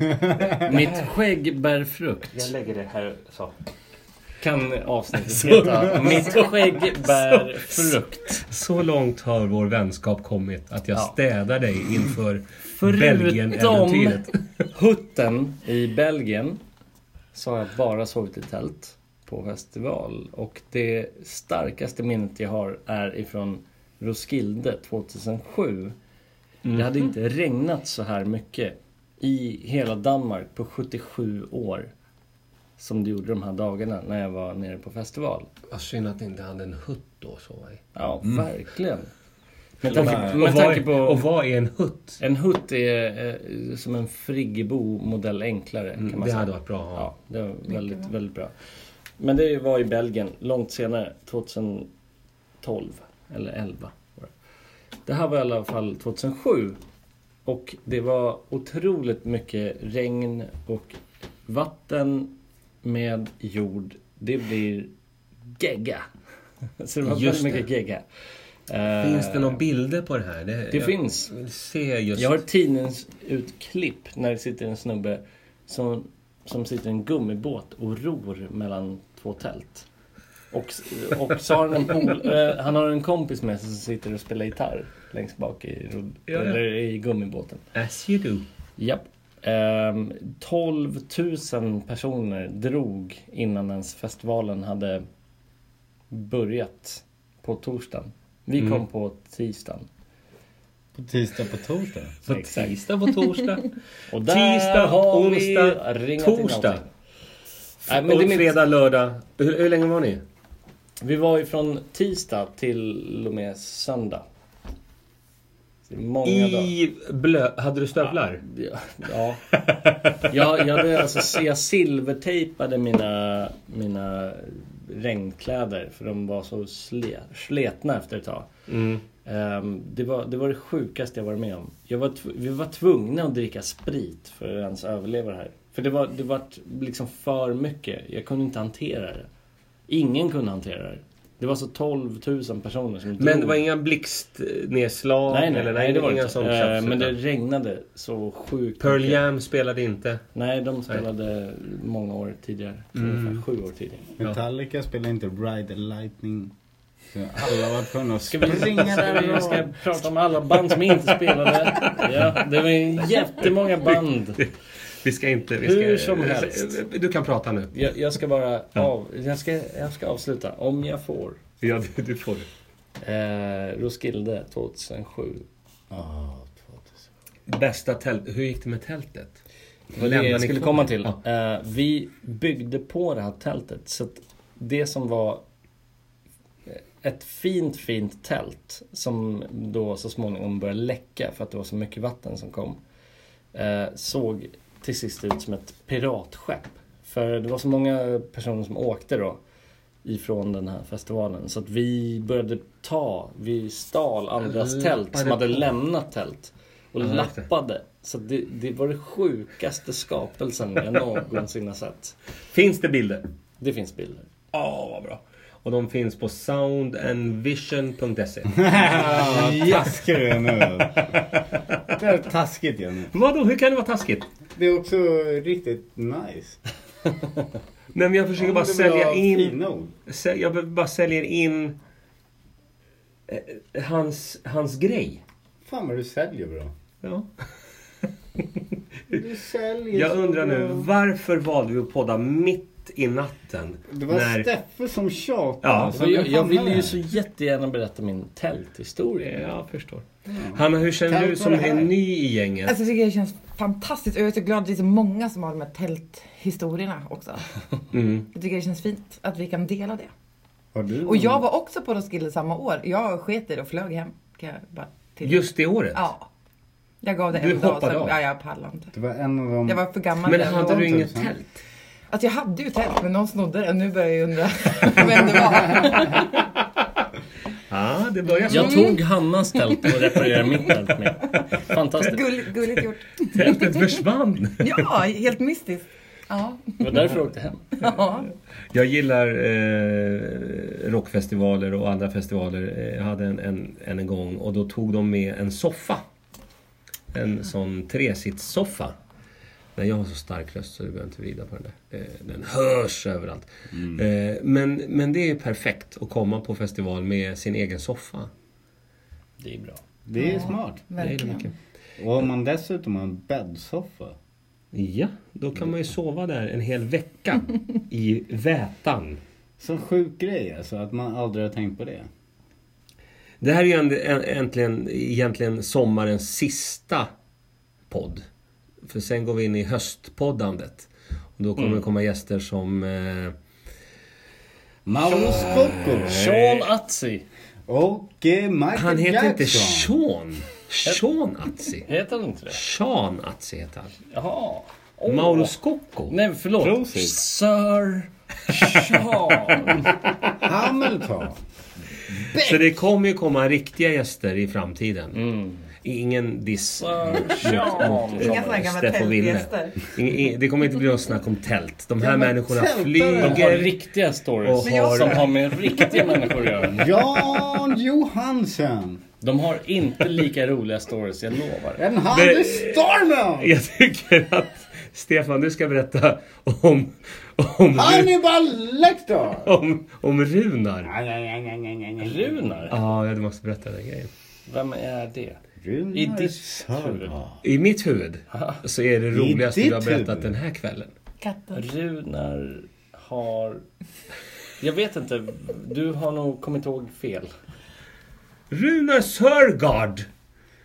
[SPEAKER 3] [LAUGHS] Mitt skägg bär frukt.
[SPEAKER 1] Jag lägger det här så.
[SPEAKER 3] Kan avsnittet heta. Mitt skägg
[SPEAKER 1] [LAUGHS]
[SPEAKER 3] bär frukt.
[SPEAKER 1] Så långt har vår vänskap kommit att jag
[SPEAKER 3] Ja.
[SPEAKER 1] städar dig inför
[SPEAKER 3] Förutom
[SPEAKER 1] Belgien-äventyret.
[SPEAKER 3] hutten i Belgien så har jag bara sovit i tält på festival. Och det starkaste minnet jag har är ifrån Roskilde 2007. Det hade
[SPEAKER 1] Mm.
[SPEAKER 3] inte regnat så här mycket i hela Danmark på 77 år som det gjorde de här dagarna när jag var nere på festival.
[SPEAKER 1] Vad synd att inte hade en hutt då. Så. var det.
[SPEAKER 3] Ja, verkligen. Med tanke,
[SPEAKER 1] Mm. Och
[SPEAKER 3] med
[SPEAKER 1] vad
[SPEAKER 3] tanke
[SPEAKER 1] är-
[SPEAKER 3] på...
[SPEAKER 1] Och vad är en hutt?
[SPEAKER 3] En hutt är eh, som en Friggebo modell enklare kan man
[SPEAKER 1] Mm, Det
[SPEAKER 3] säga.
[SPEAKER 1] hade varit bra att ha.
[SPEAKER 3] Ja, det var väldigt, väldigt bra. Men det var i Belgien långt senare, 2012 eller 11. var det. Det här var i alla fall 2007 och det var otroligt mycket regn och vatten med jord. Det blir gegga. [LAUGHS] Så det var
[SPEAKER 1] Just
[SPEAKER 3] väldigt mycket
[SPEAKER 1] det.
[SPEAKER 3] gegga.
[SPEAKER 1] Finns det
[SPEAKER 3] Eh,
[SPEAKER 1] några bilder på det här? Det,
[SPEAKER 3] Det
[SPEAKER 1] jag
[SPEAKER 3] finns.
[SPEAKER 1] vill se just...
[SPEAKER 3] Jag har ett tidningsutklipp när det sitter en snubbe som, som sitter i en gummibåt och ror mellan två tält. Och, och så har han, en pol, eh, han har en kompis med sig som sitter och spelar gitarr längst bak i, rod,
[SPEAKER 1] Ja, ja.
[SPEAKER 3] Eller i gummibåten.
[SPEAKER 1] As you do.
[SPEAKER 3] Japp. Ehm, 12 000 personer drog innan ens festivalen hade börjat på torsdagen. Vi kom
[SPEAKER 1] Mm.
[SPEAKER 3] på tisdagen.
[SPEAKER 2] På tisdag på torsdag.
[SPEAKER 1] På
[SPEAKER 3] Exakt.
[SPEAKER 1] tisdag, på
[SPEAKER 3] [LAUGHS]
[SPEAKER 1] torsdag.
[SPEAKER 3] Och där
[SPEAKER 1] Tisdag,
[SPEAKER 3] har vi
[SPEAKER 1] onsdag,
[SPEAKER 3] ringat in
[SPEAKER 1] torsdag.
[SPEAKER 3] allting. Nej, men det
[SPEAKER 1] och
[SPEAKER 3] är mitt,
[SPEAKER 1] fredag, lördag. Hur, hur länge var ni?
[SPEAKER 3] vi var ju från tisdag till och med söndag. Så det är Många dagar.
[SPEAKER 1] I blö... Hade du stövlar?
[SPEAKER 3] Ja, ja. Jag, jag, hade alltså, jag silvertejpade mina, mina regnkläder för de var så sle, sletna efter ett tag. Ehm, det, var, det var det sjukaste jag varit med om. Jag var, tv- vi var tvungna att dricka sprit för att ens överleva det här. För det var, det var liksom för mycket. Jag kunde inte hantera det. Ingen kunde hantera det. Det var så 12 000 personer som
[SPEAKER 1] Men det var inga blixtnedslag?
[SPEAKER 3] Nej, nej,
[SPEAKER 1] eller,
[SPEAKER 3] nej, det var det
[SPEAKER 1] inga
[SPEAKER 3] inte.
[SPEAKER 1] sånt
[SPEAKER 3] Eh,
[SPEAKER 1] tjafs,
[SPEAKER 3] Men det
[SPEAKER 1] utan-
[SPEAKER 3] regnade så sjukt
[SPEAKER 1] Pearl
[SPEAKER 3] mycket.
[SPEAKER 1] Jam spelade inte.
[SPEAKER 3] Nej, de spelade många år tidigare.
[SPEAKER 1] Mm.
[SPEAKER 3] Ungefär sju år tidigare.
[SPEAKER 2] Metallica spelar inte Ride the Lightning. Så alla var tvungna att
[SPEAKER 3] Ska vi,
[SPEAKER 2] springa
[SPEAKER 3] ska vi ska
[SPEAKER 2] där
[SPEAKER 3] jag prata om alla band som inte spelade?
[SPEAKER 1] [LAUGHS]
[SPEAKER 3] Ja, det var ju jättemånga band.
[SPEAKER 1] Vi ska inte... Vi ska, Eh,
[SPEAKER 3] Hur som helst.
[SPEAKER 1] Du kan prata nu.
[SPEAKER 3] Jag, jag ska bara av, jag ska, jag ska avsluta, om jag får.
[SPEAKER 1] Ja, du, du får det.
[SPEAKER 3] Eh, Roskilde 2007.
[SPEAKER 2] Ja, 2000.
[SPEAKER 1] Bästa tält... Hur gick det med tältet?
[SPEAKER 3] Det var det
[SPEAKER 1] Lämnar
[SPEAKER 3] jag
[SPEAKER 1] ni
[SPEAKER 3] skulle
[SPEAKER 1] kvar?
[SPEAKER 3] komma till.
[SPEAKER 1] Ja.
[SPEAKER 3] Eh, vi byggde på det här tältet. Så att det som var eh, ett fint, fint tält som då så småningom började läcka för att det var så mycket vatten som kom. Eh, såg till sist ut som ett piratskepp. För det var så många personer som åkte då ifrån den här festivalen. Så att vi började ta, vi stal andras
[SPEAKER 1] Lappade
[SPEAKER 3] tält som hade
[SPEAKER 1] på.
[SPEAKER 3] lämnat tält. Och
[SPEAKER 1] Ja, just det.
[SPEAKER 3] lappade. Så att det, det var den sjukaste skapelsen jag någonsin har sett.
[SPEAKER 1] Finns det bilder?
[SPEAKER 3] Det finns bilder.
[SPEAKER 1] Ja, vad bra. Och de finns på soundandvision.se.
[SPEAKER 2] [LAUGHS] Vad taskig du är nu. Det är taskigt Jenny.
[SPEAKER 1] [LAUGHS] Vadå, hur kan det vara taskigt?
[SPEAKER 2] Det är också riktigt nice.
[SPEAKER 1] Nej, men jag försöker bara
[SPEAKER 2] Det är
[SPEAKER 1] sälja
[SPEAKER 2] bra
[SPEAKER 1] in...
[SPEAKER 2] fina ord.
[SPEAKER 1] Sä, jag be- bara säljer in eh, hans, hans grej.
[SPEAKER 2] Fan vad du säljer bra.
[SPEAKER 1] Ja.
[SPEAKER 2] Du säljer
[SPEAKER 1] Jag
[SPEAKER 2] så
[SPEAKER 1] undrar nu,
[SPEAKER 2] bra.
[SPEAKER 1] varför valde vi att podda mitt i natten?
[SPEAKER 2] Det var Steffe som tjatade.
[SPEAKER 1] Ja,
[SPEAKER 2] alltså,
[SPEAKER 1] för
[SPEAKER 3] Jag,
[SPEAKER 2] vem
[SPEAKER 3] jag
[SPEAKER 2] fan
[SPEAKER 3] vill
[SPEAKER 2] är
[SPEAKER 3] ju
[SPEAKER 2] det?
[SPEAKER 3] så jättegärna berätta min tälthistoria.
[SPEAKER 1] Jag förstår. Hanna, hur
[SPEAKER 2] Kan
[SPEAKER 1] känner du
[SPEAKER 2] jag ta
[SPEAKER 1] som
[SPEAKER 2] det här?
[SPEAKER 1] är ny i gänget?
[SPEAKER 5] Alltså jag tycker det känns fantastiskt och jag är så glad att det är så många som har de här tälthistorierna också.
[SPEAKER 1] Mm.
[SPEAKER 5] Jag tycker det känns fint att vi kan dela det.
[SPEAKER 2] Har du
[SPEAKER 5] Och
[SPEAKER 2] någon-
[SPEAKER 5] jag var också på Roskilde samma år. Jag sket i det och flög hem. Kan jag bara till.
[SPEAKER 1] Just det året?
[SPEAKER 5] Ja. Jag gav det
[SPEAKER 1] Du
[SPEAKER 5] en dag
[SPEAKER 1] hoppade
[SPEAKER 5] sen.
[SPEAKER 1] av?
[SPEAKER 5] Ja, jag pallade inte.
[SPEAKER 2] Det var en av de...
[SPEAKER 5] Jag var för gammal
[SPEAKER 1] Men
[SPEAKER 5] för det.
[SPEAKER 1] hade du
[SPEAKER 2] var
[SPEAKER 1] inget
[SPEAKER 2] tusen.
[SPEAKER 1] tält?
[SPEAKER 5] Alltså jag hade ju tält men någon snodde det. Nu börjar jag ju undra vem det var.
[SPEAKER 1] Ja, det börjar så.
[SPEAKER 3] Jag tog Hannas tält och reparerade mitt tält med. Fantastiskt.
[SPEAKER 5] Gull, gulligt gjort.
[SPEAKER 1] Tältet försvann.
[SPEAKER 5] Ja, helt mystiskt. Ja.
[SPEAKER 3] Det var därför jag åkte hem.
[SPEAKER 5] ja.
[SPEAKER 1] Jag gillar eh, rockfestivaler och andra festivaler. Eh, Jag hade en, en, en en gång och då tog de med en soffa. En sån tresitssoffa. Nej, jag har så stark röst så du behöver inte vrida på den där. Eh, Den hörs överallt.
[SPEAKER 3] Mm.
[SPEAKER 1] Eh, Men, men det är perfekt att komma på festival med sin egen soffa.
[SPEAKER 3] Det är bra.
[SPEAKER 2] Det är smart.
[SPEAKER 1] Det är
[SPEAKER 5] Verkligen.
[SPEAKER 1] mycket.
[SPEAKER 2] Och om man dessutom har en bäddsoffa.
[SPEAKER 1] Ja, då kan man ju sova där en hel vecka i vätan.
[SPEAKER 2] Så sjuk grej alltså, att man aldrig har tänkt på det.
[SPEAKER 1] Det här är ju en- en- äntligen, egentligen sommarens sista podd. För sen går vi in i höstpoddandet. Och då
[SPEAKER 3] Mm.
[SPEAKER 1] kommer det komma gäster som... Eh,
[SPEAKER 2] Mauro Scocco
[SPEAKER 3] Sean Atzi.
[SPEAKER 2] och eh, Michael
[SPEAKER 1] han heter
[SPEAKER 2] Jackson.
[SPEAKER 1] inte Sean. Sean Atzi.
[SPEAKER 3] Heter han inte det?
[SPEAKER 1] Sean Atzi heter han.
[SPEAKER 3] Jaha. Åh.
[SPEAKER 1] Mauro Scocco.
[SPEAKER 3] Nej, förlåt.
[SPEAKER 2] Prosit.
[SPEAKER 3] Sir Sean.
[SPEAKER 2] Hamilton.
[SPEAKER 1] Så det kommer ju komma riktiga gäster i framtiden.
[SPEAKER 3] Mm.
[SPEAKER 1] Ingen diss
[SPEAKER 3] Sir
[SPEAKER 1] [LAUGHS]
[SPEAKER 3] Sean.
[SPEAKER 5] Inga sådana gamla
[SPEAKER 1] Steff och Wille.
[SPEAKER 5] tältgäster.
[SPEAKER 1] Ingen- ingen- Det kommer inte bli något snack om tält. De här
[SPEAKER 2] men
[SPEAKER 1] människorna
[SPEAKER 2] tältare.
[SPEAKER 3] De har
[SPEAKER 1] flyger.
[SPEAKER 3] riktiga stories
[SPEAKER 1] Men jag-
[SPEAKER 3] som har med riktiga människor att göra.
[SPEAKER 2] Jan Johansson.
[SPEAKER 3] De har inte lika roliga stories, jag lovar.
[SPEAKER 2] En Hannes Stormer.
[SPEAKER 1] Jag tycker att Stefan, du ska berätta om, om, Ru-
[SPEAKER 2] Hannibal Lecter.
[SPEAKER 1] om, om Runar.
[SPEAKER 3] Runar?
[SPEAKER 1] Ja, du måste berätta den grejen.
[SPEAKER 3] Vem är det? I
[SPEAKER 2] Runar
[SPEAKER 3] ditt
[SPEAKER 2] Sarva.
[SPEAKER 1] I mitt huvud så är det roligaste
[SPEAKER 2] ditt
[SPEAKER 1] du har berättat
[SPEAKER 2] huvud?
[SPEAKER 1] den här kvällen.
[SPEAKER 5] Katten.
[SPEAKER 3] Runar har... Jag vet inte, du har nog kommit ihåg fel.
[SPEAKER 1] Runar Sörgard!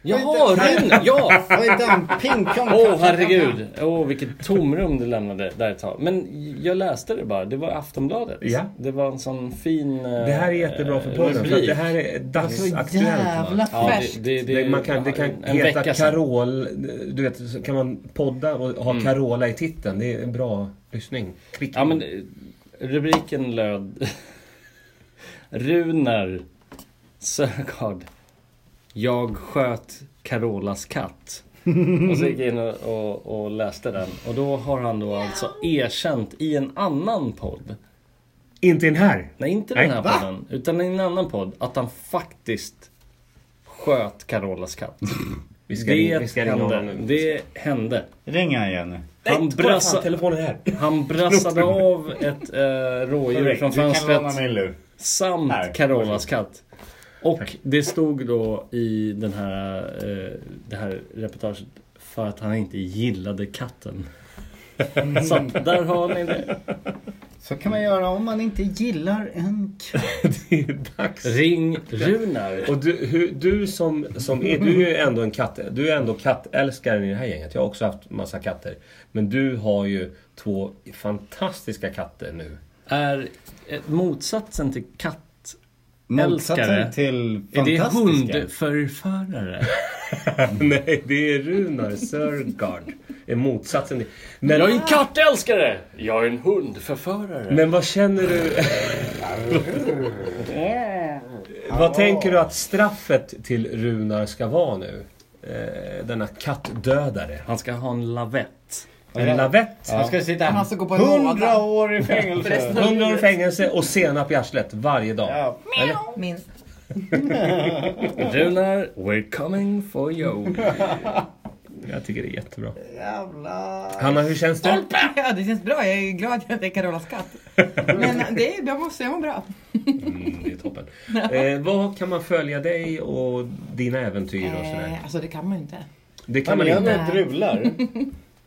[SPEAKER 3] Jaha, Runar! Ja!
[SPEAKER 2] Vad heter han? Pinkan?
[SPEAKER 3] Åh herregud! Åh vilket tomrum du lämnade där ett tag. Men jag läste det bara, det var Aftonbladet.
[SPEAKER 1] Ja.
[SPEAKER 3] Det var en sån fin... eh,
[SPEAKER 1] Det här är jättebra för podden, för att det här är dagsaktuellt. va?
[SPEAKER 5] Jävla
[SPEAKER 3] Ja,
[SPEAKER 5] färskt.
[SPEAKER 3] det, det, det,
[SPEAKER 1] Det, man kan, det kan heta Carol, du vet, så kan man podda och ha Carola i titeln. Det är en bra lyssning. Klick.
[SPEAKER 3] Mm. Ja men eh, rubriken löd [LAUGHS] Runar Sögaard Jag sköt Carolas katt. Och så gick jag in och, och, och läste den. Och då har han då alltså erkänt i en annan podd.
[SPEAKER 1] Inte den här!
[SPEAKER 3] Nej inte
[SPEAKER 1] Nej,
[SPEAKER 3] den här
[SPEAKER 1] va?
[SPEAKER 3] podden. Utan i en annan podd. Att han faktiskt sköt Carolas katt.
[SPEAKER 1] Vi ska, ringa-
[SPEAKER 3] Det,
[SPEAKER 1] vi ska ringa honom
[SPEAKER 3] hände.
[SPEAKER 1] nu.
[SPEAKER 3] det hände.
[SPEAKER 2] Ringa han igen nu.
[SPEAKER 3] Han, brassa,
[SPEAKER 1] telefonen här.
[SPEAKER 3] han brassade av ett äh, rådjur
[SPEAKER 2] Du kan
[SPEAKER 3] från fönstret.
[SPEAKER 2] låna min lur.
[SPEAKER 3] Samt
[SPEAKER 2] Här,
[SPEAKER 3] Carolas katt. Och det stod då i den här, eh, det här reportaget för att han inte gillade katten. Så att där har ni det.
[SPEAKER 2] Så kan man göra om man inte gillar [LAUGHS] en katt.
[SPEAKER 1] Det är dags.
[SPEAKER 3] Ring Runar.
[SPEAKER 1] Och du, hur, du som, som är, du är ju ändå en katt, du är ändå kattälskaren i det här gänget. Jag har också haft massa katter. Men du har ju två fantastiska katter nu. [LAUGHS]
[SPEAKER 3] Är ett- motsatsen till katt, Älskare.
[SPEAKER 2] Motsatsen till
[SPEAKER 3] är det
[SPEAKER 2] fantastiska.
[SPEAKER 3] hundförförare?
[SPEAKER 1] Nej, det är Runar Sörgard. Är motsatsen. till-
[SPEAKER 3] Jag är
[SPEAKER 1] Men,
[SPEAKER 3] en kattälskare! Jag är en hundförförare.
[SPEAKER 1] men vad känner du? [LAUGHS] vad tänker du att straffet till Runar ska vara nu? Eh, denna kattdödare.
[SPEAKER 3] Han ska ha en lavett.
[SPEAKER 1] En lavett.
[SPEAKER 2] Han ska sitta
[SPEAKER 5] Han ska gå på en
[SPEAKER 2] 100
[SPEAKER 5] låda.
[SPEAKER 2] år i [LAUGHS] fängelse.
[SPEAKER 1] 100 år i fängelse och senap i arslet varje dag.
[SPEAKER 2] Ja.
[SPEAKER 1] Eller?
[SPEAKER 5] Minst.
[SPEAKER 3] Runar, we're coming for you.
[SPEAKER 1] Jag tycker det är jättebra.
[SPEAKER 2] Jävlar.
[SPEAKER 1] Hanna, hur känns det?
[SPEAKER 5] Ja, det känns bra. Jag är glad att det är Carolas katt. Men det är, jag måste, jag mår bra.
[SPEAKER 1] Mm, det är toppen. Eh, vad kan man följa dig och dina äventyr och sådär?
[SPEAKER 5] Eh, alltså det kan man ju inte.
[SPEAKER 1] Det kan
[SPEAKER 2] Han
[SPEAKER 1] man inte.
[SPEAKER 2] är drular.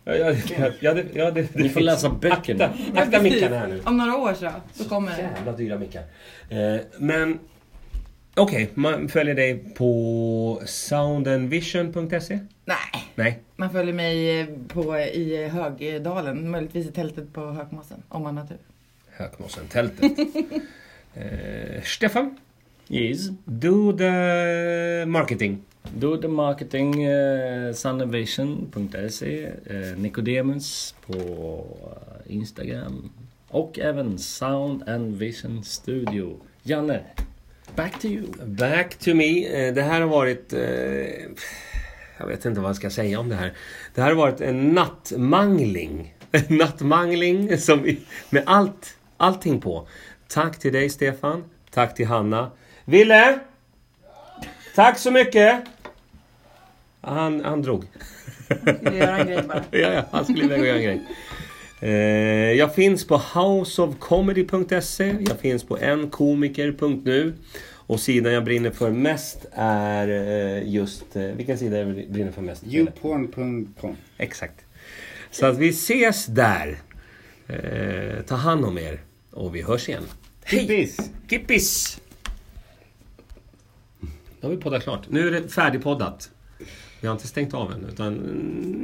[SPEAKER 1] Ja, ja, ja, ja, det, ja, det,
[SPEAKER 3] Ni får läsa böckerna.
[SPEAKER 1] Akta, akta mickarna här nu.
[SPEAKER 5] Om några år så, så kommer det.
[SPEAKER 1] Jävla dyra mickar. Eh, men okej, man följer dig på soundandvision.se?
[SPEAKER 5] Nej,
[SPEAKER 1] Nej.
[SPEAKER 5] man följer mig på, i Högdalen, möjligtvis i tältet på Högmossen, om man har tur.
[SPEAKER 1] Hökmossen-tältet. eh, Stefan,
[SPEAKER 3] Yes.
[SPEAKER 1] do the marketing.
[SPEAKER 3] Då är det marketing eh, sunnovation.se eh, Nicodemus på eh, Instagram och även Sound and Vision Studio. Janne, back to you.
[SPEAKER 1] Back to me. Eh, Det här har varit... eh, Jag vet inte vad jag ska säga om det här. Det här har varit en nattmangling. [LAUGHS] En nattmangling som, i- med allt, allting på. Tack till dig Stefan. Tack till Hanna. Ville! Tack så mycket! Han, han drog.
[SPEAKER 5] Skulle göra en grej bara.
[SPEAKER 1] Ja, ja, han skulle iväg och göra en grej. Eh, Jag finns på houseofcomedy.se. Jag finns på enkomiker.nu. Och sidan jag brinner för mest är eh, just... eh, Vilken sida jag brinner för mest?
[SPEAKER 2] Youporn.com.
[SPEAKER 1] Exakt. Så att vi ses där. Eh, Ta hand om er. Och vi hörs igen.
[SPEAKER 2] Kippis.
[SPEAKER 1] Kippis! Då har vi poddat klart. Nu är det färdigpoddat. Vi har inte stängt av än, utan mm, nu.